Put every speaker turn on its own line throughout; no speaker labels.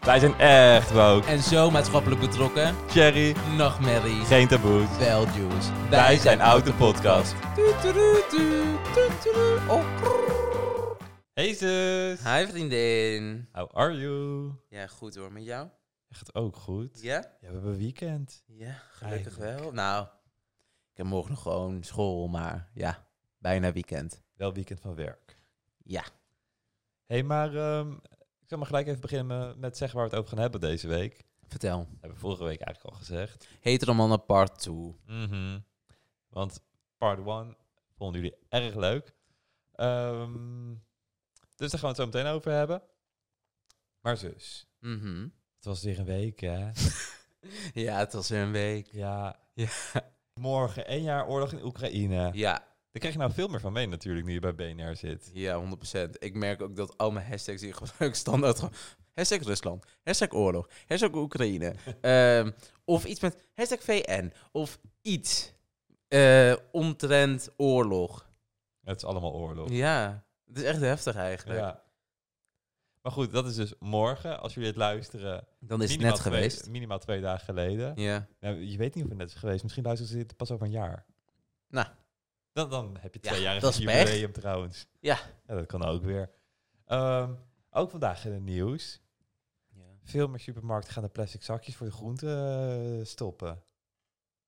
Wij zijn echt woke.
En zo maatschappelijk betrokken.
Cherry,
Nog merrie.
geen taboes.
Wel juice.
Wij zijn Out de Podcast.
Tueturutu, tueturutu, oh, krrr.
Hey zus.
Hi vriendin.
How are you?
Ja, goed hoor. Met jou?
Echt ook goed.
Ja?
Ja, we hebben weekend.
Ja, gelukkig
Eindelijk.
wel. Nou, ik heb morgen nog gewoon school, maar ja, bijna weekend.
Wel weekend van werk.
Ja.
hey, maar ehm, ik zal maar gelijk even beginnen me- met zeggen waar we het over gaan hebben deze week. Dat
Vertel.
hebben we vorige week eigenlijk al gezegd.
Heteromannen part 2.
Mhm. Want part 1 vonden jullie erg leuk. Ehm, dus daar gaan we het zo meteen over hebben. Maar zus,
Mhm.
het was weer een week hè.
Ja, het was weer een week.
Ja.
Ja.
Morgen één jaar oorlog in Oekraïne.
Ja,
Daar krijg je nou veel meer van mee natuurlijk nu je bij BNR zit.
ja, 100%. Ik merk ook dat al mijn hashtags die ik gebruik standaard gewoon... Hashtag Rusland, hashtag oorlog, hashtag Oekraïne. ehm, of iets met hashtag VN. Of iets. eh omtrent oorlog.
Het is allemaal oorlog.
Ja, het is echt heftig eigenlijk.
Ja. Maar goed, dat is dus morgen. Als jullie het luisteren.
Dan is het
minimaal
net
twee-
geweest.
Minimaal twee dagen geleden.
Ja.
Nou, je weet niet hoe het net is geweest. Misschien luisteren ze dit pas over een jaar.
Nou.
Dan, dan heb je
Ja,
twee jaar
dat is
jubileum trouwens.
Ja.
Dat kan ook weer. Ehm, ook vandaag in het nieuws. Veel meer supermarkten gaan de plastic zakjes voor de groenten eh, stoppen.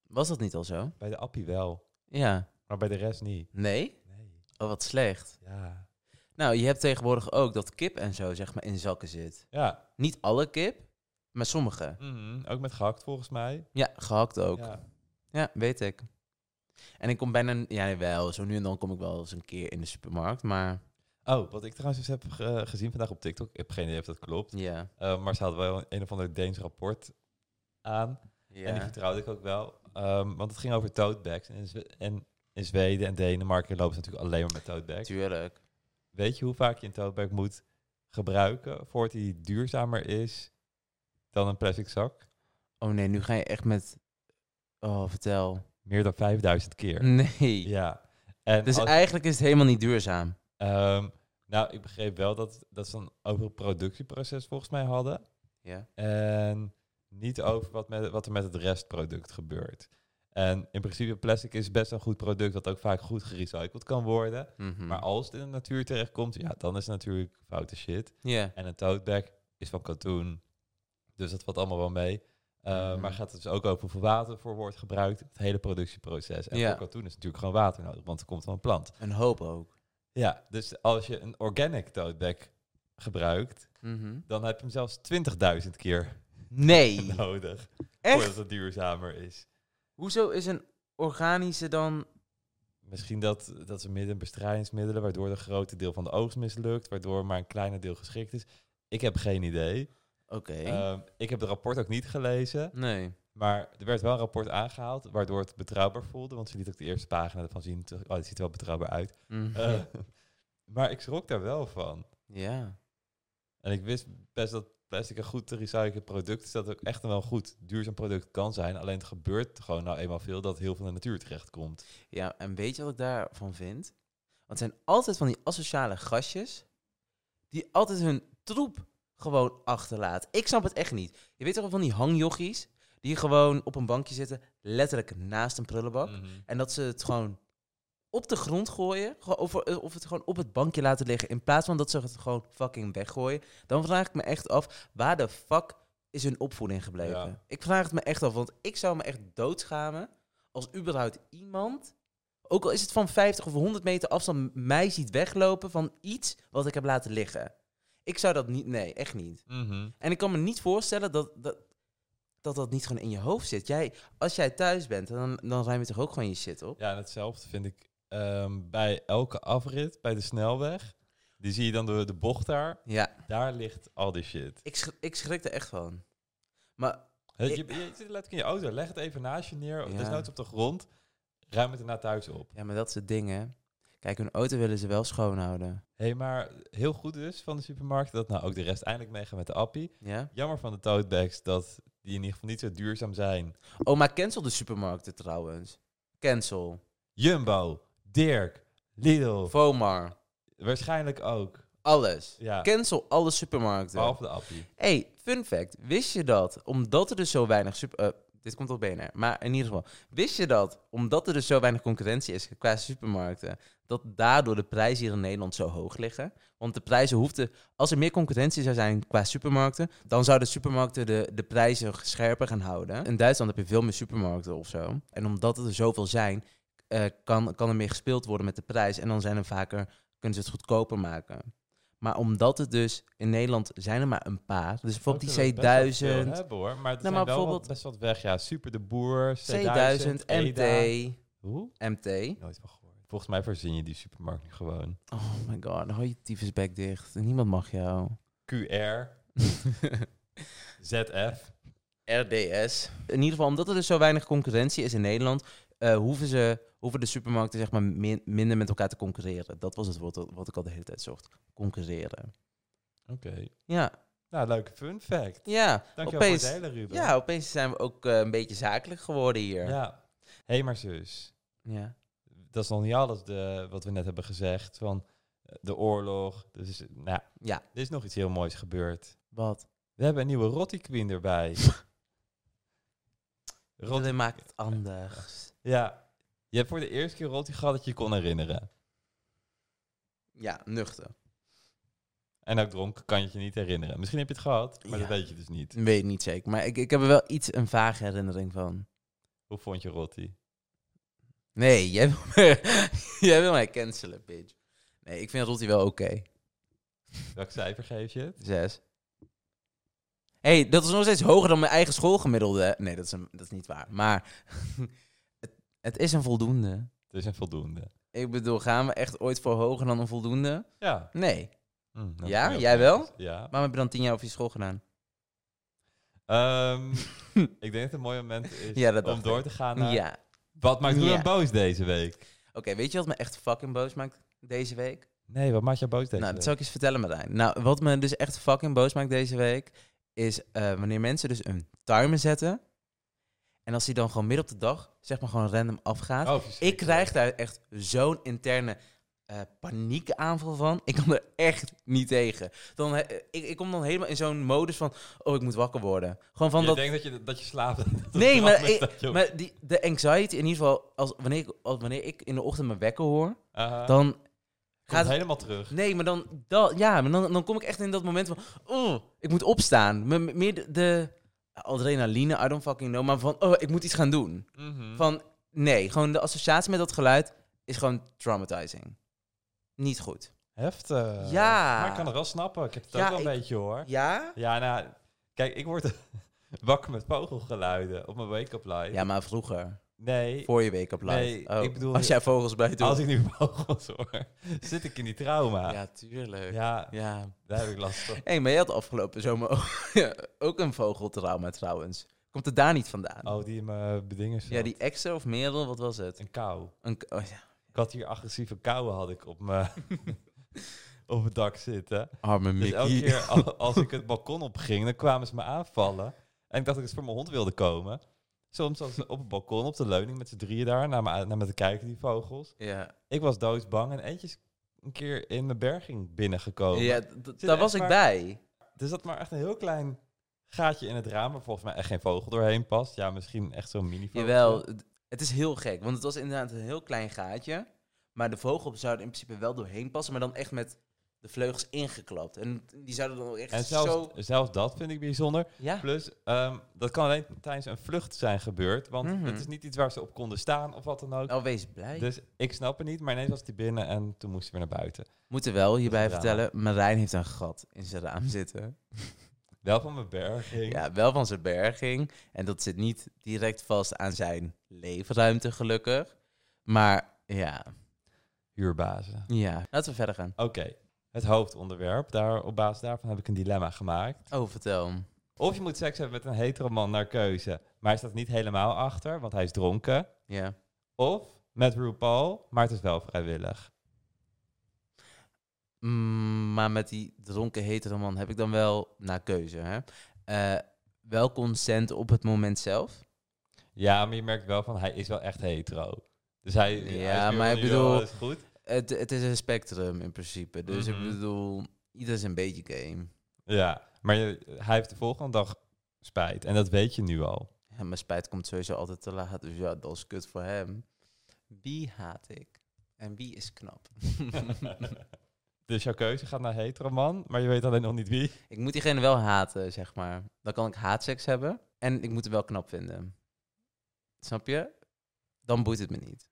Was dat niet al zo?
Bij de appie wel,
Ja.
maar bij de rest niet.
Nee?
Nee.
Oh, wat slecht.
Ja.
Nou, je hebt tegenwoordig ook dat kip en zo, zeg maar, in zakken zit.
Ja.
Niet alle kip, maar sommige.
Mhm. Ook met gehakt volgens mij.
Ja, gehakt ook.
Ja.
Ja, weet ik. En ik kom bijna, ja wel, zo nu en dan kom ik wel eens een keer in de supermarkt, maar
Oh, wat ik trouwens eens heb eh, gezien vandaag op TikTok. Ik heb geen idee of dat klopt.
ja.
Eh, maar ze hadden wel een of ander Deens rapport aan. En die
Ja,
vertrouwde ik ook wel. Ehm, want het ging over tote bags. En in, Zwe- en in Zweden en Denemarken lopen ze natuurlijk alleen maar met tote bags.
tuurlijk.
Weet je hoe vaak je een tote bag moet gebruiken voordat die duurzamer is dan een plastic zak?
Oh nee, nu ga je echt met, oh vertel.
Meer dan 5000 keer.
Nee.
Ja. En
Dus
als-
eigenlijk is het helemaal niet duurzaam.
ehm, nou, ik begreep wel dat, dat ze een over het productieproces volgens mij hadden.
Ja.
En niet over wat, met, wat er met het restproduct gebeurt. En in principe, plastic is best een goed product dat ook vaak goed gerecycled kan worden.
Mhm.
Maar als het in de natuur terechtkomt, ja, dan is het natuurlijk foute shit.
Ja.
En een tote bag is van katoen. Dus dat valt allemaal wel mee. Uh,
Mhm.
Maar gaat het dus ook over hoeveel water voor wordt gebruikt. Het hele productieproces. En
Ja.
voor katoen is natuurlijk gewoon water nodig, want het komt van een plant.
Een hoop ook.
Ja, dus als je een organic tote bag gebruikt,
Mhm.
dan heb je hem zelfs 20.000 keer
Nee.
nodig.
Echt?
Voordat het duurzamer is.
Hoezo is een organische dan...
Misschien dat, dat ze midden bestrijdingsmiddelen, waardoor de grote deel van de oogst mislukt, waardoor maar een kleine deel geschikt is. Ik heb geen idee.
Oké.
Ehm, ik heb het rapport ook niet gelezen,
nee.
maar er werd wel een rapport aangehaald, waardoor het betrouwbaar voelde, want ze liet ook de eerste pagina ervan zien. Toen- Oh, dit ziet er wel betrouwbaar uit.
Mhm.
Eh, maar ik schrok daar wel van.
Ja.
En ik wist best dat plastic een goed te recyclen product is, dat het ook echt wel een goed duurzaam product kan zijn. Alleen het gebeurt gewoon nou eenmaal veel dat heel veel in de natuur terechtkomt.
Ja, en weet je wat ik daarvan vind? Want het zijn altijd van die asociale gastjes die altijd hun troep gewoon achterlaat. Ik snap het echt niet. Je weet toch wel van die hangjochies die gewoon op een bankje zitten, letterlijk naast een prullenbak.
Mhm.
En dat ze het gewoon op de grond gooien, gewoon of, of het gewoon op het bankje laten liggen, in plaats van dat ze het gewoon fucking weggooien. Dan vraag ik me echt af, waar de fuck is hun opvoeding gebleven?
Ja.
Ik vraag het me echt af, want ik zou me echt doodschamen als überhaupt iemand, ook al is het van 50 of 100 meter afstand, m- mij ziet weglopen van iets wat ik heb laten liggen. Ik zou dat niet, nee, echt niet.
Mhm.
En ik kan me niet voorstellen dat dat, dat, dat niet gewoon in je hoofd zit. Jij, als jij thuis bent, dan, dan ruim je toch ook gewoon je shit op?
Ja, en hetzelfde vind ik ehm, bij elke afrit, bij de snelweg. Die zie je dan door de bocht daar.
Ja,
Daar ligt al die shit.
ik, schrik- ik schrik er echt van. Maar
Het- Je,
Ik-
je zit letterlijk in je auto. Leg het even naast je neer.
Ja.
Ja. Desnoods op de grond. Ruim het erna thuis op.
ja, maar dat is het ding, hè. Kijk, hun auto willen ze wel schoonhouden.
Hé, hey, maar heel goed dus van de supermarkt. Dat nou ook de rest eindelijk meegaan met de appie.
Ja?
Jammer van de tote bags dat die in ieder geval niet zo duurzaam zijn.
Oh, maar cancel de supermarkten trouwens. Cancel.
Jumbo, Dirk, Lidl.
Vomar.
Waarschijnlijk ook.
alles.
Ja,
Cancel alle supermarkten.
behalve de appie.
Hey, fun fact. Wist je dat, omdat er dus zo weinig... Super, eh, dit komt op BNR, maar in ieder geval. Wist je dat, omdat er dus zo weinig concurrentie is qua supermarkten... dat daardoor de prijzen hier in Nederland zo hoog liggen? Want de prijzen hoefden... Als er meer concurrentie zou zijn qua supermarkten... dan zouden supermarkten de, de prijzen scherper gaan houden. In Duitsland heb je veel meer supermarkten of zo. En omdat er zoveel zijn, eh, kan, kan er meer gespeeld worden met de prijs. En dan zijn er vaker, kunnen ze het goedkoper maken. Maar omdat het dus in Nederland zijn er maar een paar. Dus bijvoorbeeld die
Ook kunnen we best wel veel
C1000,
hebben hoor, maar het zijn
Nou,
wel wat-
maar bijvoorbeeld-
best wat weg. Ja, super de boer,
C1000,
C1000,
MT,
EDA. Hoe?
MT.
Nooit van gehoord. Volgens mij voorzien je die supermarkt nu gewoon.
Oh my god, hou je tyfusbek dicht. Niemand mag jou.
QR, ZF.
RDS. In ieder geval, omdat er dus zo weinig concurrentie is in Nederland, eh, hoeven, ze, hoeven de supermarkten zeg maar min- minder met elkaar te concurreren. Dat was het woord dat- wat ik al de hele tijd zocht. Concurreren.
Oké.
Ja,
Nou, leuke fun fact.
ja.
Dankjewel
Opeens-
voor het hele, Ruben.
Ja, opeens zijn we ook eh, een beetje zakelijk geworden hier.
Ja. Hé, hey, maar zus.
ja.
Dat is nog niet alles de, wat we net hebben gezegd van eh, de oorlog. Dus, eh, nou,
Ja.
er is nog iets heel moois gebeurd.
Wat?
We hebben een nieuwe Rotti Queen erbij. Rotti-
Jullie maakt het anders.
ja. Je hebt voor de eerste keer Rotti gehad dat je je kon herinneren.
Ja, nuchter.
En ook dronken kan je het je niet herinneren. Misschien heb je het gehad, maar dat
Ja.
weet je dus niet.
Weet niet zeker, maar ik, ik heb er wel iets een vage herinnering van.
Hoe vond je Rotti?
Nee, jij wil mij, jij wil mij cancelen, bitch. Nee, ik vind Rotti wel oké.
Welk cijfer geef je het?
Zes. hey, dat is nog steeds hoger dan mijn eigen schoolgemiddelde. Nee, dat is, een, dat is niet waar. Maar het, het is een voldoende.
Het is een voldoende.
Ik bedoel, gaan we echt ooit voor hoger dan een voldoende?
Ja.
Nee.
Hm, dat
Ja?
is heel
Jij wel?
netjes. Ja.
Waarom heb je dan tien jaar over je school gedaan?
Ehm, ik denk dat het een mooi moment is
Ja, dat
om
dacht
door
ik.
te gaan naar...
Ja.
Wat maakt Ruben
Ja.
boos deze week?
Oké, weet je wat me echt fucking boos maakt deze week?
Nee, wat maakt jou boos deze
nou,
week?
dat zal ik eens vertellen, Marijn. Nou, wat me dus echt fucking boos maakt deze week... is eh, wanneer mensen dus een timer zetten... en als die dan gewoon midden op de dag, zeg maar gewoon random afgaat...
Oh, verschrikkelijk.
Ik krijg daar echt zo'n interne eh, paniekaanval van. Ik kan er echt niet tegen. Dan, eh, ik, ik kom dan helemaal in zo'n modus van... Oh, ik moet wakker worden. Gewoon van
Je
dat...
denkt dat je, dat je slaapt. Dat het
Nee, maar,
brand is
ik-
dat je op-
maar die, de anxiety in ieder geval... Als, wanneer, ik, als, wanneer ik in de ochtend mijn wekker hoor...
Aha.
Dan
Komt
gaat het...
helemaal terug.
Nee, maar dan... dan ja, maar dan, dan kom ik echt in dat moment van... Oh, ik moet opstaan. Me- me- Meer de, de adrenaline, I don't fucking know. Maar van, oh, ik moet iets gaan doen.
Mhm.
Van nee, gewoon de associatie met dat geluid is gewoon traumatizing. Niet goed.
Heftig.
Ja.
Maar ik kan het wel snappen. Ik heb het
Ja,
ook wel een
ik-
beetje hoor.
Ja?
Ja, nou... Kijk, ik word wakker met vogelgeluiden op mijn wake-up light.
Ja, maar vroeger.
Nee,
Voor je wake-up light.
Nee, ik bedoel-
Als jij vogels buiten
als
hoort.
ik nu vogels hoor, zit ik in die trauma. Ja,
Ja, tuurlijk. Ja.
daar heb ik last van.
Hé, maar jij had afgelopen zomer ook, ja, ook een vogeltrauma trouwens. Komt het daar niet vandaan?
Oh, die in mijn bedingen zat.
ja, die extra of merel, wat was het?
Een kou.
Een, k- oh, ja.
Ik had hier agressieve kouwen had ik op mijn op het dak zitten.
Arme
Dus
Mickey.
elke keer al- als ik het balkon opging, dan kwamen ze me aanvallen. En ik dacht dat ik ze voor mijn hond wilde komen. Soms was ze op het balkon, op de leuning met z'n drieën daar, naar me, aan- naar me te kijken, die vogels.
Ja,
Ik was doodsbang en eentje is een keer in mijn berging binnengekomen.
ja d- d- daar
echt
was ik
maar-
bij.
Er zat maar echt een heel klein gaatje in het raam, waar volgens mij echt geen vogel doorheen past. Ja, misschien echt zo'n
Oh,
mini vogel.
Jawel, het- het is heel gek, want het was inderdaad een heel klein gaatje. Maar de vogel zou er in principe wel doorheen passen, maar dan echt met de vleugels ingeklapt. En die zouden dan ook echt
En zelfs,
zo...
zelfs dat vind ik bijzonder.
Ja,
Plus, ehm, dat kan alleen tijdens een vlucht zijn gebeurd. Want
Mhm.
het is niet iets waar ze op konden staan of wat dan ook.
nou wees blij.
Dus ik snap het niet, maar ineens was die binnen en toen moesten we naar buiten.
Moeten wel hierbij
Dat is een drama.
vertellen, Marijn heeft een gat in zijn raam zitten.
Wel van mijn berging.
Ja, wel van zijn berging. En dat zit niet direct vast aan zijn leefruimte, gelukkig. Maar ja,
Huurbazen.
ja. laten we verder gaan.
Oké, het hoofdonderwerp. Daar, op basis daarvan heb ik een dilemma gemaakt.
Oh, vertel.
Of je moet seks hebben met een hetero man naar keuze. Maar hij staat niet helemaal achter, want hij is dronken.
Ja.
Of met RuPaul, maar het is wel vrijwillig.
Mm, maar met die dronken hetere man heb ik dan wel, naar keuze, hè, eh, wel consent op het moment zelf.
Ja, maar je merkt wel van hij is wel echt hetero. Dus hij. hij is
Ja,
nu
maar
wel
ik
nu wel,
bedoel-
is goed.
Het, het is een spectrum in principe. Dus
Mhm.
ik bedoel, Ieder is een beetje game.
Ja, maar je, hij heeft de volgende dag spijt. En dat weet je nu al.
Ja, mijn spijt komt sowieso altijd te laat, dus ja, dat is kut voor hem. Wie haat ik? En wie is knap?
dus jouw keuze gaat naar hetero man, maar je weet alleen nog niet wie.
ik moet diegene wel haten, zeg maar. Dan kan ik haatseks hebben en ik moet hem wel knap vinden. Snap je? Dan boeit het me niet.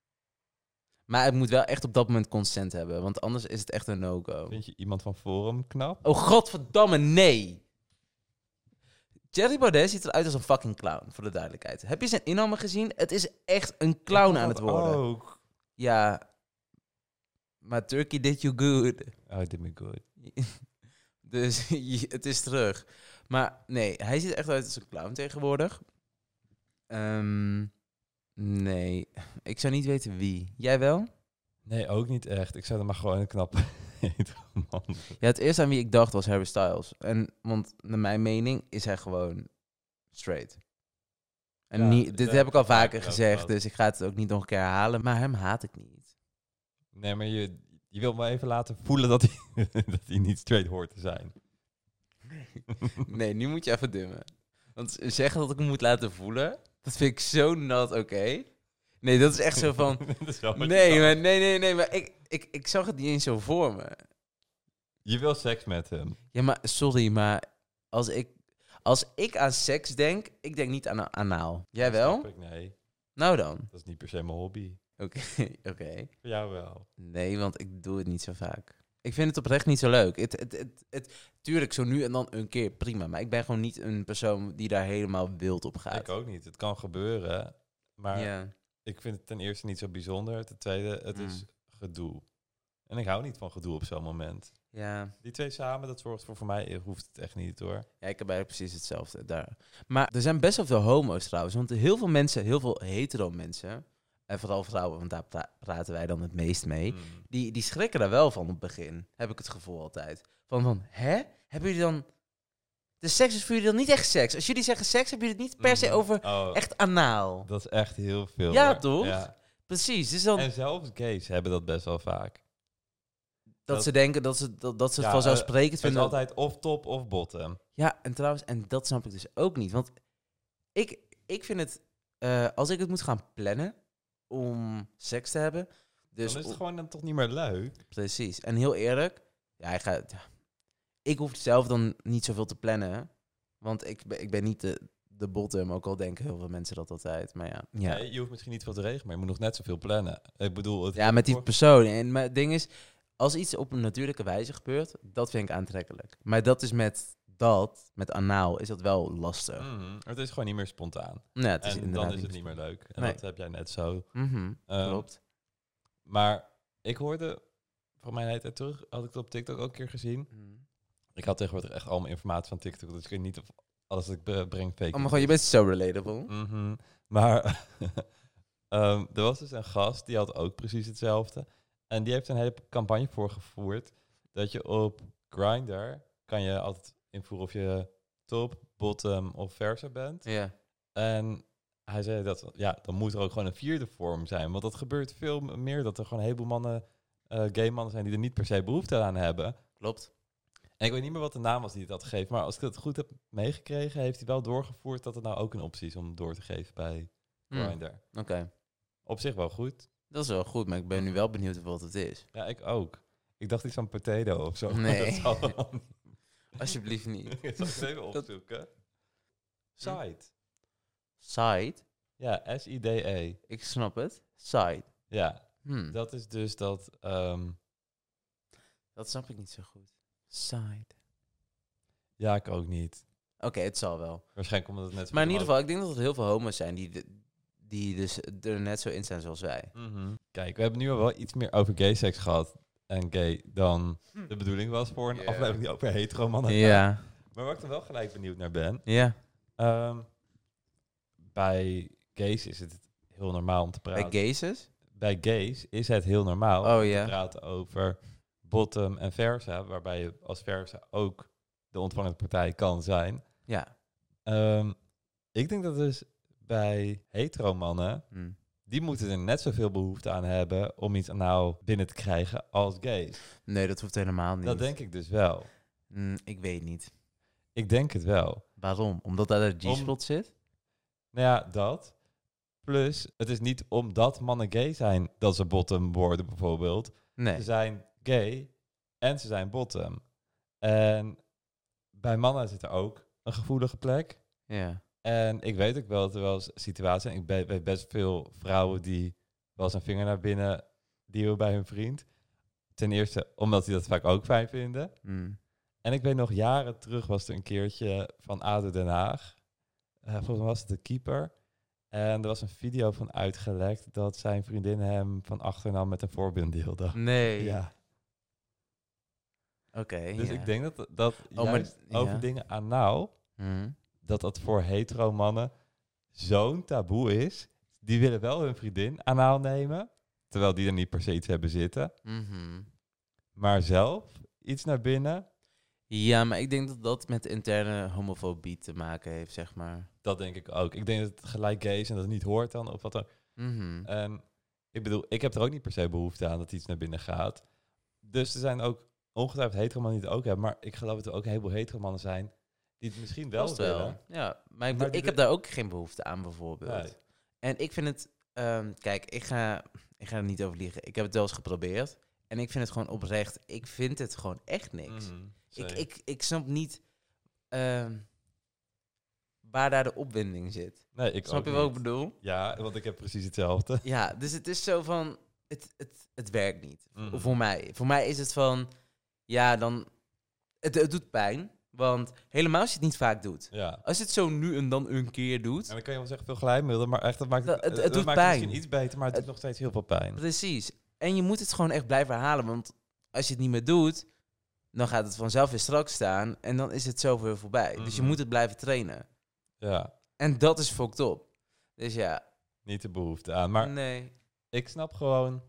Maar het moet wel echt op dat moment consent hebben, want anders is het echt een no-go.
Vind je iemand van Forum knap?
Oh, godverdamme, nee. Jerry Baudet ziet eruit als een fucking clown, voor de duidelijkheid. Heb je zijn inhammen gezien? Het is echt een
Oh,
clown aan het worden.
Ook.
Ja. Maar Turkey did you good.
Oh, dit me good.
Dus je- het is terug. Maar nee, hij ziet er echt uit als een clown tegenwoordig. Ehm, nee, ik zou niet weten wie. Jij wel?
Nee, ook niet echt. Ik zou er maar gewoon een knappe hetero man.
Ja, het eerste aan wie ik dacht was Harry Styles. En, want naar mijn mening is hij gewoon straight. En
Ja,
niet, dit
daar
heb ik al
heb ik het
vaker
over
gezegd,
gehad.
dus ik ga het ook niet nog een keer herhalen. Maar hem haat ik niet.
Nee, maar je, je wil me even laten voelen dat hij, dat hij niet straight hoort te zijn.
Nee, nu moet je even dimmen. Want zeggen dat ik hem moet laten voelen, dat vind ik zo not oké. Nee, dat is echt zo van...
Dat is wel wat je
Nee,
zegt.
maar, nee, nee, nee, maar ik, ik, ik zag het niet eens zo voor me.
Je wil seks met hem.
Ja, maar sorry, maar als ik, als ik aan seks denk, ik denk niet aan een anaal. Jij
Dat
wel?
snap ik, Nee,
Nou dan.
dat is niet per se mijn hobby.
Oké, oké.
Voor jou wel.
Nee, want ik doe het niet zo vaak. Ik vind het oprecht niet zo leuk. Het, het, het, het, tuurlijk, zo nu en dan een keer, prima. Maar ik ben gewoon niet een persoon die daar helemaal wild op gaat.
Ik ook niet. Het kan gebeuren. Maar
Ja.
ik vind het ten eerste niet zo bijzonder. Ten tweede, het is
Mm.
gedoe. En ik hou niet van gedoe op zo'n moment.
ja.
Die twee samen, dat zorgt voor voor mij, eh, hoeft het echt niet hoor.
Ja, ik heb eigenlijk precies hetzelfde daar. Maar er zijn best wel veel homo's trouwens. Want heel veel mensen, heel veel hetero mensen, en vooral vrouwen, want daar pra- praten wij dan het meest mee.
Mm.
Die, die schrikken daar wel van op het begin, heb ik het gevoel altijd. Van, van hè? Hebben jullie dan... De seks is voor jullie dan niet echt seks. Als jullie zeggen seks, hebben jullie het niet per se
Mm.
over
Oh,
echt anaal.
Dat is echt heel veel.
Ja,
hoor.
toch? Precies, dus dan
En zelfs gays hebben dat best wel vaak.
dat
dat-
ze denken dat ze, dat, dat ze het
Ja, eh,
vanzelfsprekend
Het is
vinden.
altijd of top of bottom.
Ja, en trouwens, en dat snap ik dus ook niet. Want ik, ik vind het, eh, als ik het moet gaan plannen om seks te hebben. Dus
dan is het
om-
gewoon dan toch niet meer leuk.
precies. En heel eerlijk, ja, hij gaat, ja. ik hoef zelf dan niet zoveel te plannen. Want ik, ben- ik ben niet de, de bottom, ook al denken heel veel mensen dat altijd. Maar ja, ja.
Nee, je hoeft misschien niet veel te regelen, maar je moet nog net zoveel plannen. Ik bedoel, het
ja met die persoon. En maar het ding is, als iets op een natuurlijke wijze gebeurt, dat vind ik aantrekkelijk. Maar dat is met dat, met anaal, is dat wel lastig.
Mhm, het is gewoon niet meer spontaan.
Ja, het is
en
inderdaad
dan is het niet meer leuk. En
Nee.
dat heb jij net zo.
Mhm,
Ehm,
klopt.
Maar ik hoorde, van mijn hele tijd terug, had ik het op TikTok ook een keer gezien.
Mm-hmm.
Ik had tegenwoordig echt al mijn informatie van TikTok, dus ik weet niet of alles wat ik be- breng fake
Oh, maar
is.
gewoon, je bent zo relatable.
Mhm. Maar ehm, er was dus een gast die had ook precies hetzelfde. En die heeft een hele campagne voor gevoerd. Dat je op Grindr kan je altijd invoeren of je top, bottom of versa bent.
Ja.
En hij zei dat ja, dan moet er ook gewoon een vierde vorm zijn. Want dat gebeurt veel m- meer dat er gewoon een heleboel mannen, eh, gay mannen zijn die er niet per se behoefte aan hebben.
Klopt.
En ik weet niet meer wat de naam was die het had gegeven. Maar als ik het goed heb meegekregen, heeft hij wel doorgevoerd dat het nou ook een optie is om door te geven bij
Hmm, Oké.
Grindr. Op zich wel goed.
Dat is wel goed, maar ik ben nu wel benieuwd wat het is.
Ja, ik ook. Ik dacht iets van potato of zo. maar
Nee.
Dat zal wel niet.
Alsjeblieft niet.
Dat zal ik het even
Dat- Hm.
opzoeken. Side.
Side.
Ja, S-I-D-E.
Ik snap het. Side.
E. Ja,
Hmm, Dat,
dat is dus dat... ehm,
snap ik niet zo goed. Side.
ja, ik ook niet.
Oké, het zal wel.
Waarschijnlijk omdat het net... zo
Maar in ieder
omhoog-
geval, ik denk dat er heel veel homo's zijn die, de- die dus er net zo in staan zoals wij.
Mhm. Kijk, we hebben nu al wel iets meer over gay seks gehad. En gay dan de bedoeling was voor een
Ja.
aflevering die over hetero mannen gaat.
Ja.
Maar waar ik dan wel gelijk benieuwd naar ben...
Ja.
ehm, bij gays is het heel normaal om te
Bij
praten.
gazes?
bij gays is het heel normaal om
Oh
te
ja.
praten over bottom en versa, waarbij je als versa ook de ontvangende partij kan zijn.
Ja.
Ehm, ik denk dat dus bij hetero mannen,
Hmm.
die die moeten er net zoveel behoefte aan hebben om iets nou binnen te krijgen als gays.
Nee, dat hoeft helemaal niet.
Dat denk ik dus wel.
Mm, ik weet niet.
Ik denk het wel.
Waarom? Omdat daar de
Om-
G-spot zit?
Nou ja, dat. Plus, het is niet omdat mannen gay zijn dat ze bottom worden bijvoorbeeld.
Nee.
Ze zijn gay en ze zijn bottom. En bij mannen zit er ook een gevoelige plek.
Ja.
En ik weet ook wel dat er wel eens situaties zijn. Ik be- weet best veel vrouwen die wel eens een vinger naar binnen duwen bij hun vriend. Ten eerste omdat die dat vaak ook fijn vinden.
Mm.
En ik weet nog jaren terug was er een keertje van ADO Den Haag. Eh, volgens mij was het de keeper. En er was een video van uitgelekt dat zijn vriendin hem van achternam met een voorbeeld deelde.
Nee.
Ja.
Oké.
Dus
ja.
ik denk dat, dat
Oh, maar-
juist over
ja.
dingen anaal,
Mm.
dat dat voor hetero mannen zo'n taboe is. Die willen wel hun vriendin anaal nemen, terwijl die er niet per se iets hebben zitten.
Mhm.
Maar zelf iets naar binnen,
Ja, maar ik denk dat dat met interne homofobie te maken heeft, zeg maar.
dat denk ik ook. Ik denk dat het gelijk gay is en dat het niet hoort dan, of wat dan
Mhm.
En ik bedoel, ik heb er ook niet per se behoefte aan dat iets naar binnen gaat. Dus er zijn ook ongetwijfeld heteromannen die het ook hebben. Maar ik geloof dat er ook een heleboel heteromannen zijn die het misschien wel
Vast
willen.
Ja, maar ik,
Maar
bedoel,
die
ik heb
wil-
daar ook geen behoefte aan, bijvoorbeeld.
Nee.
En ik vind het... ehm, kijk, ik ga, ik ga er niet over liegen. Ik heb het wel eens geprobeerd. En ik vind het gewoon oprecht... Ik vind het gewoon echt niks.
Mhm,
ik,
zeker.
ik, ik snap niet ehm, waar daar de opwinding zit.
nee, ik
snap
ook
je wat ik
niet.
bedoel?
Ja, want ik heb precies hetzelfde.
Ja, dus het is zo van... Het, het, het werkt niet.
Mhm.
Voor mij. Voor mij is het van... Ja, dan... Het, het doet pijn. Want helemaal als je het niet vaak doet.
Ja.
Als je het zo nu en dan een keer doet...
En dan kan je wel zeggen veel glijmiddelen, maar echt, dat maakt
Dat- het- het doet
maakt
pijn.
misschien iets beter, maar het doet
Het-
nog steeds heel veel pijn.
Precies. En je moet het gewoon echt blijven herhalen. Want als je het niet meer doet, dan gaat het vanzelf weer strak staan. En dan is het zo weer voorbij. Dus je
Mhm.
moet het blijven trainen.
Ja,
En dat is fucked up. Dus ja,
niet de behoefte aan. Maar
nee.
ik snap gewoon.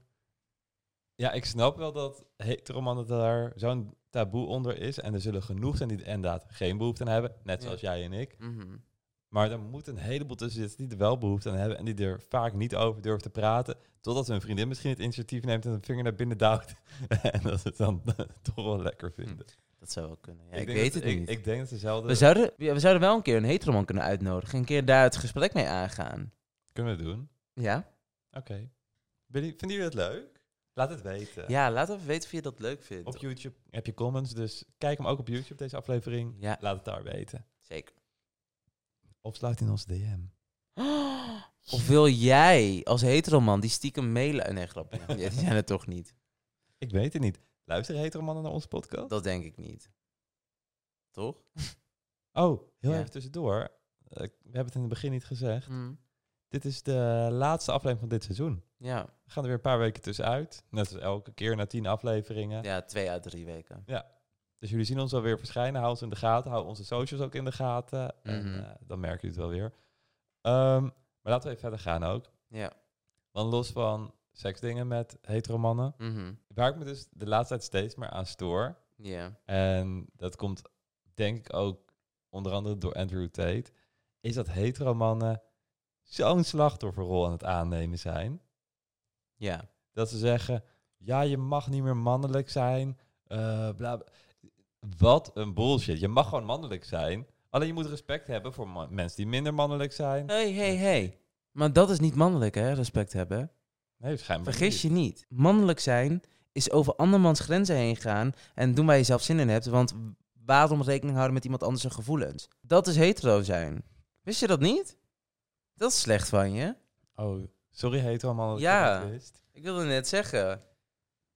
Ja, ik snap wel dat heteromannen daar zo'n taboe onder is. En er zullen genoeg zijn die er inderdaad geen behoefte aan hebben. Net
Ja.
zoals jij en ik.
Mhm.
Maar er moet een heleboel tussen zitten die er wel behoefte aan hebben. En die er vaak niet over durven te praten. Totdat hun vriendin misschien het initiatief neemt en een vinger naar binnen duwt. en dat ze het dan toch wel lekker vinden.
Dat zou wel kunnen. Ja,
Ik
ik
denk
weet
dat-
het
ik-
niet.
Ik denk dat ze zelden
we, zouden, ja, we zouden wel een keer een heteroman kunnen uitnodigen. Een keer daar het gesprek mee aangaan.
kunnen doen.
Ja?
Oké. Willen- Vinden jullie dat leuk? Laat het weten.
Ja, laat even weten of je dat leuk vindt.
Op YouTube heb je comments, dus kijk hem ook op YouTube, deze aflevering.
Ja,
Laat het daar weten.
zeker.
Of sluit in onze DM.
Of wil jij als heteroman die stiekem mailen? Nee, grapje. Ja, die zijn er toch niet.
Ik weet het niet. Luisteren heteromannen naar onze podcast?
Dat denk ik niet. Toch?
Oh, heel
Ja.
even tussendoor. Eh, we hebben het in het begin niet gezegd. Dit is de laatste aflevering van dit seizoen.
Ja.
We gaan er weer een paar weken tussenuit. Net als elke keer na tien afleveringen.
ja, twee uit drie weken.
Dus jullie zien ons alweer verschijnen. Hou ons in de gaten. Hou onze socials ook in de gaten. En
Mhm.
eh, dan merken jullie het wel weer. Ehm, maar laten we even verder gaan ook.
Ja.
Want los van seksdingen met heteromannen...
Mhm.
waar ik me dus de laatste tijd steeds meer aan stoor...
Ja.
En dat komt denk ik ook onder andere door Andrew Tate. Is dat heteromannen zo'n slachtofferrol aan het aannemen zijn.
Ja.
Dat ze zeggen, ja, je mag niet meer mannelijk zijn. eh, bla, bla. Wat een bullshit. Je mag gewoon mannelijk zijn. Alleen je moet respect hebben voor ma- mensen die minder mannelijk zijn.
Hey, hey, hey. Maar dat is niet mannelijk, hè? Respect hebben.
Nee, schijnbaar
Vergis
niet.
je niet. Mannelijk zijn is over andermans grenzen heen gaan en doen waar je zelf zin in hebt. Want waarom rekening houden met iemand anders zijn gevoelens? Dat is hetero zijn. Wist je dat niet? Dat is slecht van je.
Oh, sorry heteromannen. dat ik
Ja.
dat niet wist.
Ik wilde net zeggen.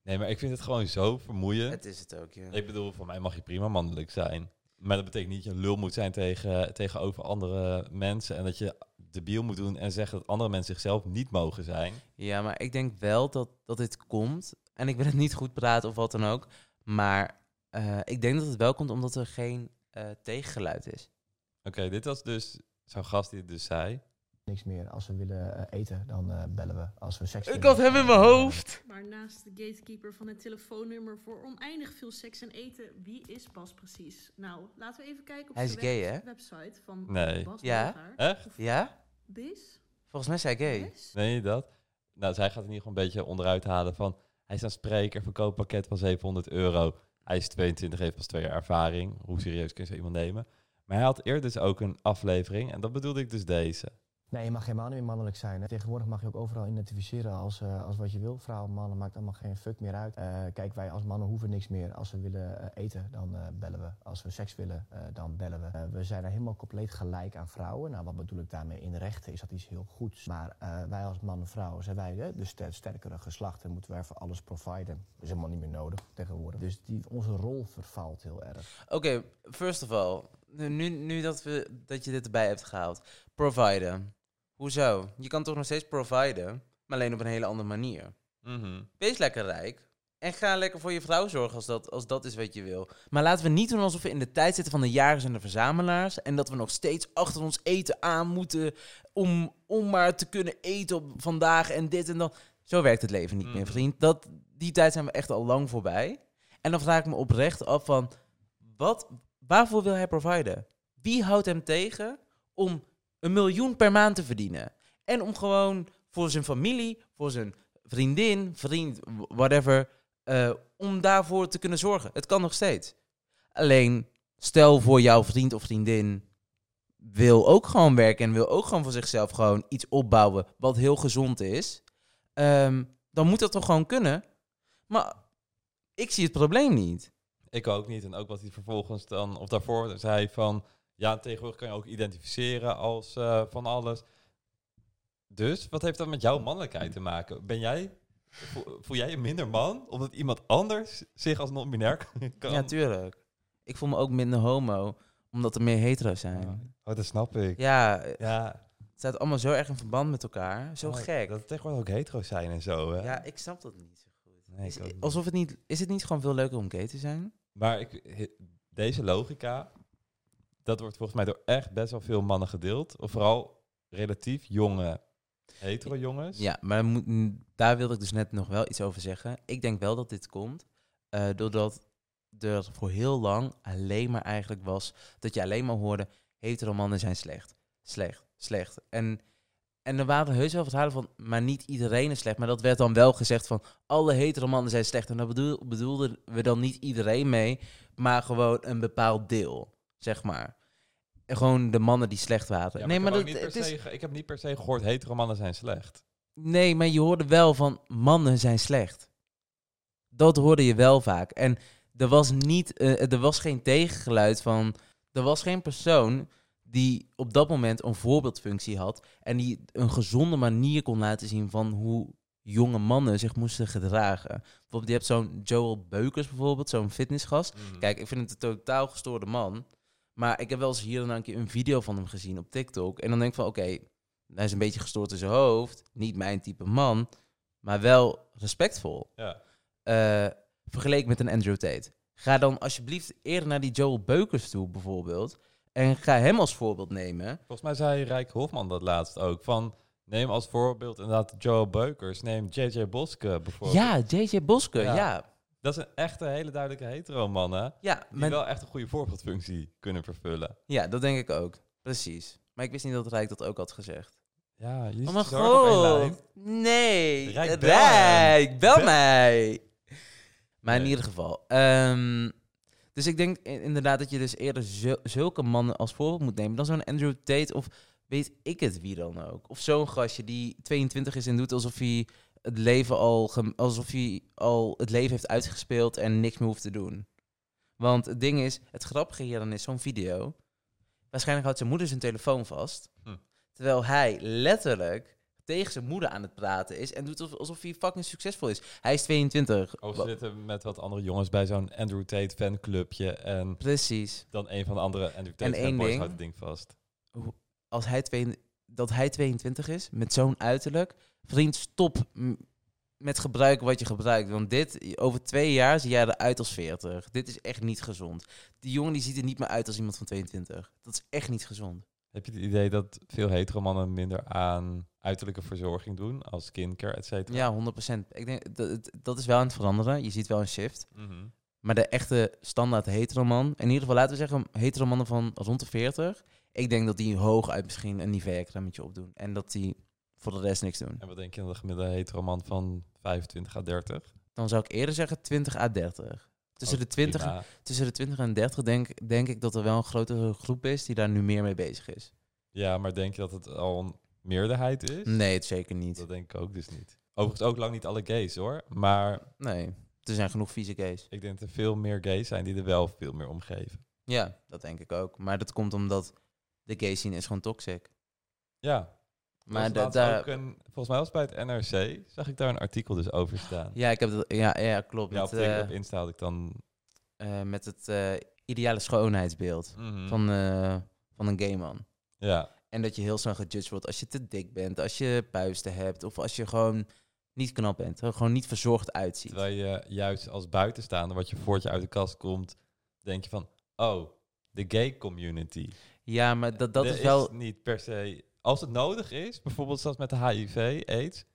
Nee, maar ik vind het gewoon zo vermoeiend.
Het is het ook, ja.
Ik bedoel, voor mij mag je prima mannelijk zijn. Maar dat betekent niet dat je een lul moet zijn tegen, tegenover andere mensen. En dat je debiel moet doen en zeggen dat andere mensen zichzelf niet mogen zijn.
Ja, maar ik denk wel dat, dat dit komt. En ik wil het niet goed praten of wat dan ook. Maar eh, ik denk dat het wel komt omdat er geen eh, tegengeluid is.
Oké, dit was dus zo'n gast die het dus zei.
niks meer. Als we willen eh, eten, dan eh, bellen we. Als we seks
Ik
willen-
had hem in mijn hoofd.
Maar naast de gatekeeper van het telefoonnummer voor oneindig veel seks en eten, wie is Bas precies? Nou, laten we even kijken op
Hij is
de
gay,
web-
hè?
website van
Nee.
Bas
Ja.
Burger.
Echt?
Ja?
Bis?
Volgens mij zei ik gay.
Bes?
Nee, dat? Nou, zij gaat in ieder geval een beetje onderuit halen van... Hij is een spreker, verkooppakket van 700 euro. Hij is 22, heeft pas twee jaar ervaring. Hoe serieus kun je zo iemand nemen? Maar hij had eerder dus ook een aflevering. En dat bedoelde ik dus deze.
Nee, je mag helemaal niet meer mannelijk zijn. Hè. Tegenwoordig mag je ook overal identificeren als, eh, als wat je wil. Vrouwen, mannen, maakt allemaal geen fuck meer uit. Eh, kijk, wij als mannen hoeven niks meer. Als we willen eh, eten, dan eh, bellen we. Als we seks willen, eh, dan bellen we. Eh, we zijn er helemaal compleet gelijk aan vrouwen. Nou, wat bedoel ik daarmee? In rechten is dat iets heel goeds. Maar eh, wij als mannen en vrouwen zijn wij hè, de ster- sterkere geslacht. En moeten wij voor alles providen. Dat is helemaal niet meer nodig tegenwoordig. Dus die, onze rol vervalt heel erg.
Oké, first of all. Nu, nu, nu dat, we, dat je dit erbij hebt gehaald. Providen. Hoezo? Je kan toch nog steeds providen, maar alleen op een hele andere manier. Wees lekker rijk. En ga lekker voor je vrouw zorgen als dat, als dat is wat je wil. Maar laten we niet doen alsof we in de tijd zitten van de jagers en de verzamelaars. En dat we nog steeds achter ons eten aan moeten. Om, om maar te kunnen eten op vandaag en dit en dat. Zo werkt het leven niet meer,
Mm.
vriend. Dat, die tijd zijn we echt al lang voorbij. En dan vraag ik me oprecht af van... Wat, waarvoor wil hij providen? Wie houdt hem tegen om een miljoen per maand te verdienen? En om gewoon voor zijn familie, voor zijn vriendin, vriend, w- whatever, eh, om daarvoor te kunnen zorgen. Het kan nog steeds. Alleen, stel voor jouw vriend of vriendin wil ook gewoon werken en wil ook gewoon voor zichzelf gewoon iets opbouwen wat heel gezond is. Ehm, dan moet dat toch gewoon kunnen? Maar ik zie het probleem niet.
Ik ook niet. En ook wat hij vervolgens dan, of daarvoor zei van... Ja, tegenwoordig kan je ook identificeren als eh, van alles. Dus, wat heeft dat met jouw mannelijkheid te maken? Ben jij, voel, voel jij je minder man? Omdat iemand anders zich als non-binair kan...
Ja, tuurlijk. Ik voel me ook minder homo, omdat er meer hetero's zijn.
Oh, dat snap ik.
Ja, het
Ja,
staat allemaal zo erg in verband met elkaar. Zo
oh,
gek.
Dat het tegenwoordig ook hetero's zijn en zo. Hè?
Ja, ik snap dat niet zo goed.
Nee,
Is-
ik ook niet.
alsof het niet, is het niet gewoon veel leuker om gay te zijn?
Maar ik, he- deze logica, dat wordt volgens mij door echt best wel veel mannen gedeeld. Of vooral relatief jonge hetero jongens.
Ja, maar moet- mm, daar wilde ik dus net nog wel iets over zeggen. Ik denk wel dat dit komt eh, doordat er voor heel lang alleen maar eigenlijk was dat je alleen maar hoorde hetero mannen zijn slecht, slecht, slecht. En, en er waren heus wel verhalen van, maar niet iedereen is slecht. Maar dat werd dan wel gezegd van alle hetero mannen zijn slecht. En daar bedoel, bedoelden we dan niet iedereen mee, maar gewoon een bepaald deel, zeg maar. En Gewoon de mannen die slecht waren.
Ja,
nee,
ik
maar
heb
dat,
ook niet per
het is,
se ge- ik heb niet per se gehoord, hetero mannen zijn slecht.
Nee, maar je hoorde wel van mannen zijn slecht. Dat hoorde je wel vaak. En er was, niet, eh, er was geen tegengeluid van. Er was geen persoon die op dat moment een voorbeeldfunctie had. En die een gezonde manier kon laten zien van hoe jonge mannen zich moesten gedragen. Bijvoorbeeld, je hebt zo'n Joel Beukers bijvoorbeeld, zo'n fitnessgast. Kijk, ik vind het een totaal gestoorde man. Maar ik heb wel eens hier en daar een keer een video van hem gezien op TikTok. En dan denk ik van, oké, hij is een beetje gestoord in zijn hoofd. Niet mijn type man. Maar wel respectvol.
Ja.
Eh, vergeleken met een Andrew Tate. Ga dan alsjeblieft eerder naar die Joel Beukers toe bijvoorbeeld. En ga hem als voorbeeld nemen.
Volgens mij zei Rijk Hofman dat laatst ook. Van neem als voorbeeld inderdaad Joel Beukers, neem JJ Boske bijvoorbeeld.
Ja, JJ Boske,
Ja.
ja. Ja,
Dat zijn echte hele duidelijke hetero mannen die
maar-
wel echt een goede voorbeeldfunctie kunnen vervullen.
ja dat denk ik ook. Precies. Maar ik wist niet dat Rijk dat ook had gezegd.
Ja, jullie
Oh mijn
zitten zo erg op één lijn.
god. Nee.
Rijk,
Rijk,
bel hem.
bel
Bel-
mij. Maar in
Nee.
ieder geval. ehm, dus ik denk i- inderdaad dat je dus eerder zu- zulke mannen als voorbeeld moet nemen dan zo'n Andrew Tate of weet ik het wie dan ook. Of zo'n gastje die 22 is en doet alsof hij het leven al, gem- alsof hij al het leven heeft uitgespeeld en niks meer hoeft te doen. Want het ding is, het grappige hier dan is zo'n video. Waarschijnlijk houdt zijn moeder zijn telefoon vast.
Hm.
Terwijl hij letterlijk tegen zijn moeder aan het praten is en doet alsof- alsof hij fucking succesvol is. Hij is 22.
Of ze
Wa-
zitten met wat andere jongens bij zo'n Andrew Tate fanclubje. En
Precies.
dan een van de andere Andrew Tate
één
fanboys
ding.
houdt het ding vast.
Als hij twee, dat hij 22 is met zo'n uiterlijk. Vriend, stop m- met gebruiken wat je gebruikt. Want dit, over twee jaar zie jij eruit als 40. Dit is echt niet gezond. Die jongen die ziet er niet meer uit als iemand van 22. Dat is echt niet gezond.
Heb je het idee dat veel hetero mannen minder aan uiterlijke verzorging doen? Als kindcare, et cetera?
Ja, 100%. Ik denk dat, het- dat is wel aan het veranderen. Je ziet wel een shift.
Mhm.
Maar de echte standaard heteroman, in ieder geval laten we zeggen heteromannen van rond de 40, ik denk dat die hooguit misschien een Nivea-cremmetje opdoen. En dat die voor de rest niks doen.
En wat denk je dan de gemiddelde hetero man van 25 à 30?
Dan zou ik eerder zeggen 20 à 30. Tussen,
Ook
de 20, en-
Oh, prima.
tussen de 20 en 30 denk, denk ik dat er wel een grotere groep is die daar nu meer mee bezig is.
Ja, maar denk je dat het al een meerderheid is?
Nee, het zeker niet.
Dus- Dat denk ik ook dus niet. Overigens ook lang niet alle gays hoor. Maar
Nee, er zijn genoeg vieze gays.
ik denk dat er veel meer gays zijn die er wel veel meer om geven.
Ja, dat denk ik ook. Maar dat komt omdat de gay scene is gewoon toxic.
Ja.
Maar
Maar
da- daar...
ook een, volgens mij was het bij het NRC, zag ik daar een artikel dus over staan.
Ja, ik heb dat... Ja, ja klopt.
Ja, op,
met,
Twitter,
eh,
op Insta had ik dan...
eh, met het eh, ideale schoonheidsbeeld
Mhm.
van, eh, van een gay man.
ja,
En dat je heel snel gejudged wordt als je te dik bent, als je puisten hebt of als je gewoon niet knap bent. er Gewoon niet verzorgd uitziet.
terwijl je juist als buitenstaander, wat je voordat je uit de kast komt, denk je van, oh, de gay community.
Ja, maar dat, dat
Er
is wel...
niet per se... Als het nodig is, bijvoorbeeld zoals met de HIV, AIDS,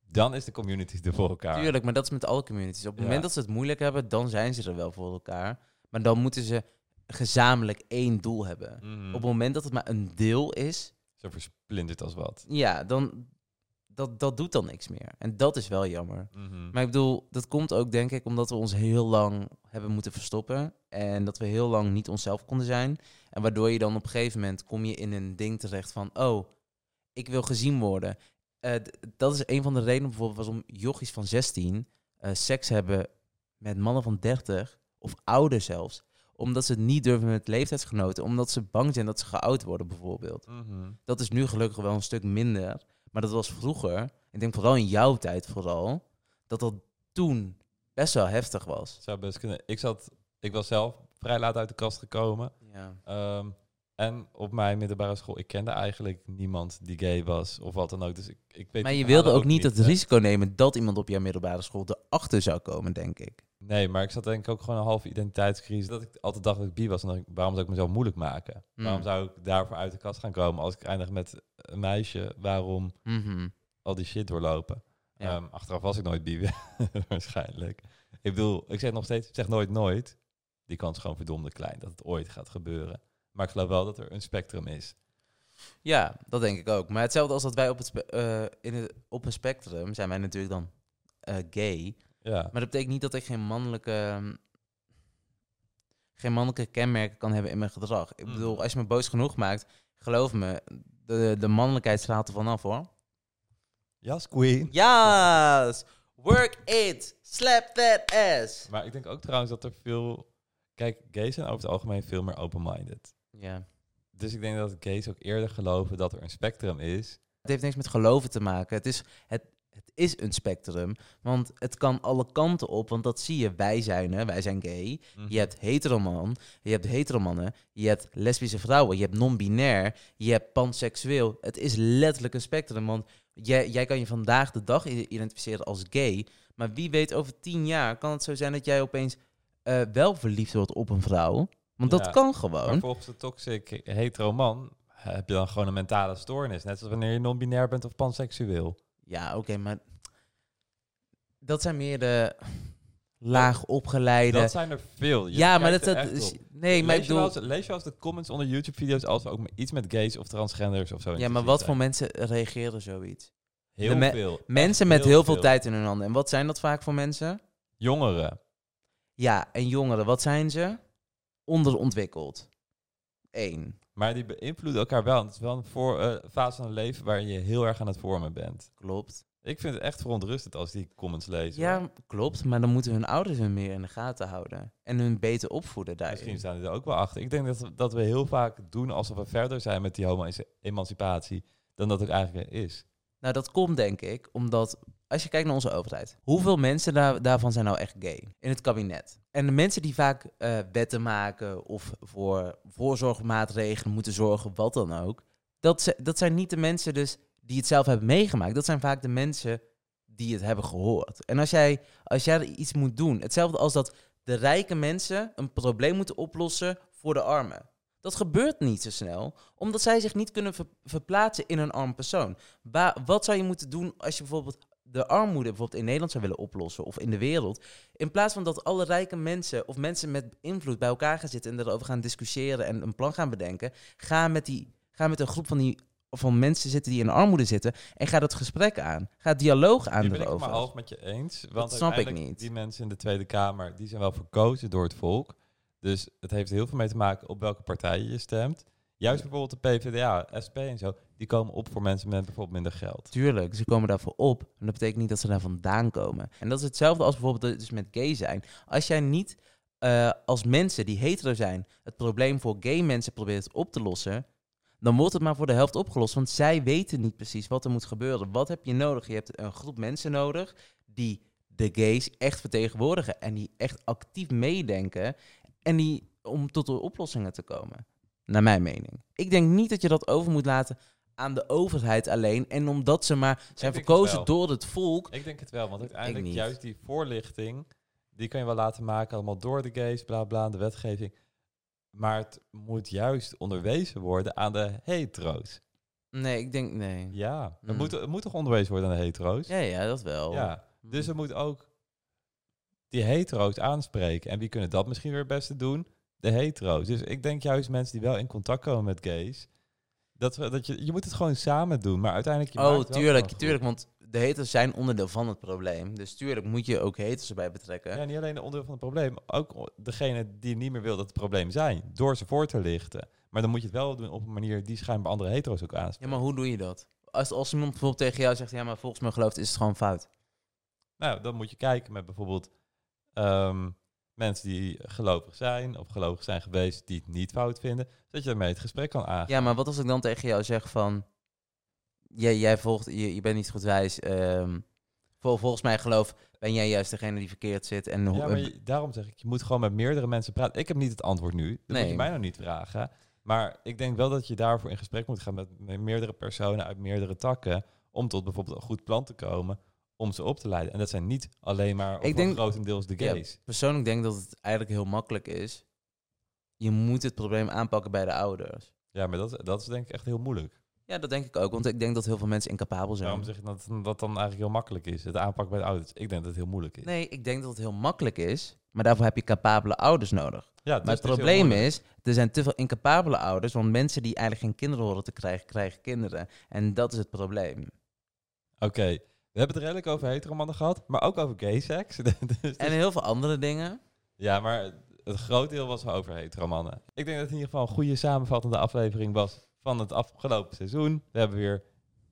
dan is de community er voor elkaar.
Tuurlijk, maar dat is met alle communities. Op het
Ja.
moment dat ze het moeilijk hebben, dan zijn ze er wel voor elkaar. Maar dan moeten ze gezamenlijk één doel hebben.
Mhm.
Op het moment dat het maar een deel is,
Zo versplinterd als wat.
ja, dan dat, dat doet dan niks meer. En dat is wel jammer.
Mhm.
Maar ik bedoel, dat komt ook denk ik omdat we ons heel lang hebben moeten verstoppen. En dat we heel lang niet onszelf konden zijn. En waardoor je dan op een gegeven moment kom je in een ding terecht van... Oh, ik wil gezien worden. Eh, d- dat is een van de redenen bijvoorbeeld was om jochies van 16 eh, seks hebben met mannen van 30 of ouder zelfs. Omdat ze het niet durven met leeftijdsgenoten. Omdat ze bang zijn dat ze geout worden bijvoorbeeld.
Mhm.
Dat is nu gelukkig wel een stuk minder. Maar dat was vroeger, ik denk vooral in jouw tijd vooral, dat dat toen best wel heftig was.
Zou best kunnen. Ik, zat, ik was zelf vrij laat uit de kast gekomen.
Ja.
Ehm, en op mijn middelbare school, ik kende eigenlijk niemand die gay was of wat dan ook. Dus ik, ik weet
Maar
die
je
verhalen
wilde ook niet eh, het
hè.
risico nemen dat iemand op jouw middelbare school erachter zou komen, denk ik.
Nee, maar ik zat denk ik ook gewoon een halve identiteitscrisis. Dat ik altijd dacht dat ik bi was. En dan dacht ik, waarom zou ik mezelf moeilijk maken?
Hmm.
Waarom zou ik daarvoor uit de kast gaan komen als ik eindig met een meisje? Waarom
Mhm.
al die shit doorlopen?
Ja.
Ehm, achteraf was ik nooit bi, waarschijnlijk. Ik bedoel, ik zeg nog steeds, ik zeg nooit nooit. Die kans is gewoon verdomde klein dat het ooit gaat gebeuren. Maar ik geloof wel dat er een spectrum is.
Ja, dat denk ik ook. Maar hetzelfde als dat wij op, het spe- eh, in het, op een spectrum zijn wij natuurlijk dan eh, gay.
Ja.
Maar dat betekent niet dat ik geen mannelijke, ehm, geen mannelijke kenmerken kan hebben in mijn gedrag. Ik
Mm.
bedoel, als je me boos genoeg maakt, geloof me, de, de mannelijkheid straalt er vanaf hoor.
Yes, queen.
Yes! Work it! Slap that ass!
Maar ik denk ook trouwens dat er veel... Kijk, gays zijn over het algemeen veel meer open-minded.
Ja.
Dus ik denk dat gays ook eerder geloven dat er een spectrum is.
Het heeft niks met geloven te maken. Het is, het, het is een spectrum. Want het kan alle kanten op. Want dat zie je. Wij zijn hè, wij zijn gay. Je hebt heteroman, je hebt heteromannen, je hebt lesbische vrouwen, je hebt non-binair, je hebt panseksueel. Het is letterlijk een spectrum, want jij, jij kan je vandaag de dag i- identificeren als gay, maar wie weet over tien jaar kan het zo zijn dat jij opeens eh, wel verliefd wordt op een vrouw, want dat
Ja,
kan
Maar
gewoon.
volgens de toxic hetero man eh, heb je dan gewoon een mentale stoornis. Net zoals wanneer je non-binair bent of panseksueel.
Ja, oké, maar dat zijn meer de laag opgeleide.
Dat zijn er veel. Je
Ja, maar dat,
kijkt er
dat
echt
is-
op.
nee, maar
lees,
ik
je wel
bedoel,
eens, lees je wel eens de comments onder YouTube-video's als we ook met iets met gays of transgenders of zo. in
ja, maar
zitten?
wat voor mensen reageren zoiets? de
Heel
me-
veel.
Mensen
Echt
met heel veel tijd in hun handen. En wat zijn dat vaak voor mensen?
Jongeren.
Ja, en jongeren, wat zijn ze? Onderontwikkeld. Eén,
Maar die beïnvloeden elkaar wel. En Het is wel een voor, eh, fase van het leven waarin je heel erg aan het vormen bent.
klopt.
Ik vind het echt verontrustend als ik die comments lees. hoor.
Ja, klopt, maar dan moeten hun ouders hun meer in de gaten houden. En hun beter opvoeden
Misschien
daarin.
staan die er ook wel achter. Ik denk dat, dat we heel vaak doen alsof we verder zijn met die homo-emancipatie dan dat ook eigenlijk is.
Nou, dat komt denk ik, omdat als je kijkt naar onze overheid, hoeveel mensen daar, daarvan zijn nou echt gay in het kabinet? En de mensen die vaak eh, wetten maken of voor voorzorgmaatregelen moeten zorgen, wat dan ook, dat, ze- dat zijn niet de mensen dus die het zelf hebben meegemaakt. Dat zijn vaak de mensen die het hebben gehoord. En als jij, als jij iets moet doen, hetzelfde als dat de rijke mensen een probleem moeten oplossen voor de armen. Dat gebeurt niet zo snel, omdat zij zich niet kunnen ver- verplaatsen in een arm persoon. Waar, wat zou je moeten doen als je bijvoorbeeld de armoede bijvoorbeeld in Nederland zou willen oplossen of in de wereld? In plaats van dat alle rijke mensen of mensen met invloed bij elkaar gaan zitten en erover gaan discussiëren en een plan gaan bedenken, ga met, die, ga met een groep van die van mensen zitten die in armoede zitten. En ga dat gesprek aan. Ga het dialoog aan
Hier ben ik het
erover.
maar half met je eens. Want
snap ik
uiteindelijk
niet.
Die mensen in de Tweede Kamer, die zijn wel verkozen door het volk. Dus het heeft heel veel mee te maken op welke partijen je stemt. Juist bijvoorbeeld de PvdA, SP en zo, die komen op voor mensen met bijvoorbeeld minder geld.
Tuurlijk, ze komen daarvoor op. Maar dat betekent niet dat ze daar vandaan komen. En dat is hetzelfde als bijvoorbeeld dat- dus met gay zijn. Als jij niet eh, als mensen die hetero zijn het probleem voor gay mensen probeert op te lossen, dan wordt het maar voor de helft opgelost. Want zij weten niet precies wat er moet gebeuren. Wat heb je nodig? Je hebt een groep mensen nodig die de gays echt vertegenwoordigen en die echt actief meedenken en die om tot de oplossingen te komen. Naar mijn mening. Ik denk niet dat je dat over moet laten aan de overheid alleen en omdat ze maar zijn
denk het wel.
verkozen door het volk.
Ik denk het wel, want
Ik
uiteindelijk
niet.
juist die voorlichting, die kan je wel laten maken allemaal door de gays, bla bla, de wetgeving. Maar het moet juist onderwezen worden aan de hetero's.
Nee, ik denk nee.
Ja, het,
Mm.
moet, het moet toch onderwezen worden aan de hetero's?
Ja, ja, dat wel.
Ja, dus
Mm.
we moeten ook die hetero's aanspreken. En wie kunnen dat misschien weer het beste doen? De hetero's. Dus ik denk juist mensen die wel in contact komen met gays. Dat, we- dat je, je moet het gewoon samen doen, maar uiteindelijk... Je maakt
oh,
wel
tuurlijk,
gewoon
tuurlijk, want de heters zijn onderdeel van het probleem. Dus tuurlijk moet je ook heters erbij betrekken.
goed. Ja, niet alleen de onderdeel van het probleem, ook o- degene die niet meer wil dat het probleem zijn. Door ze voor te lichten. Maar dan moet je het wel doen op een manier die schijnbaar andere hetero's ook
Ja,
aanspreekt.
maar hoe doe je dat? Als, als iemand bijvoorbeeld tegen jou zegt, ja, maar volgens mijn geloof is het gewoon fout.
Nou, dan moet je kijken met bijvoorbeeld ehm, mensen die gelovig zijn of gelovig zijn geweest die het niet fout vinden, zodat je daarmee het gesprek kan aangaan.
Ja, maar wat als ik dan tegen jou zeg van, jij, jij volgt, je, je bent niet goed wijs. ehm, vol- volgens mijn geloof ben jij juist degene die verkeerd zit. En hoe-
Ja,
eh,
maar je- daarom zeg ik, je moet gewoon met meerdere mensen praten. Ik heb niet het antwoord nu, dat moet
Nee.
je mij nou niet vragen. Maar ik denk wel dat je daarvoor in gesprek moet gaan met met meerdere personen uit meerdere takken, om tot bijvoorbeeld een goed plan te komen, om ze op te leiden. En dat zijn niet alleen maar of
Ik
wel
denk-
grotendeels de
Ja,
gays.
persoonlijk denk dat het eigenlijk heel makkelijk is. Je moet het probleem aanpakken bij de ouders.
Ja, maar dat, dat is denk ik echt heel moeilijk.
Ja, dat denk ik ook, want ik denk dat heel veel mensen incapabel zijn.
Waarom zeg je dat dat dan eigenlijk heel makkelijk is? Het aanpakken bij de ouders. Ik denk dat het heel moeilijk is.
Nee, ik denk dat het heel makkelijk is, maar daarvoor heb je capabele ouders nodig.
Ja, dus
Maar het
is heel
probleem
moeilijk.
is, er zijn te veel incapabele ouders, want mensen die eigenlijk geen kinderen horen te krijgen, krijgen kinderen. En dat is het probleem.
Oké, we hebben het redelijk over heteromannen gehad, maar ook over gay seks. Dus dat-
En heel veel andere dingen.
Ja, maar het grote deel was wel over heteromannen. Ik denk dat het in ieder geval een goede samenvattende aflevering was van het afgelopen seizoen. We hebben weer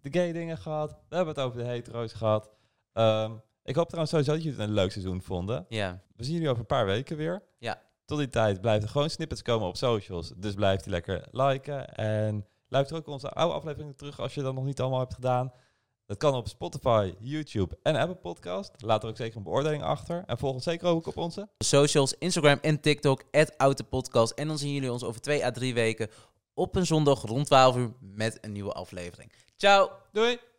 de gay dingen gehad, we hebben het over de hetero's gehad. Ehm, ik hoop trouwens sowieso dat jullie het een leuk seizoen vonden.
Ja,
We zien jullie over een paar weken weer.
Ja.
Tot die tijd blijven er gewoon snippets komen op socials. Dus blijf die lekker liken. En luister ook onze oude afleveringen terug als je dat nog niet allemaal hebt gedaan. Dat kan op Spotify, YouTube en Apple Podcast. Laat er ook zeker een beoordeling achter. En volg ons zeker ook op onze.
socials, Instagram en TikTok, @outepodcast. En dan zien jullie ons over twee à drie weken op een zondag rond 12 uur met een nieuwe aflevering. Ciao!
Doei!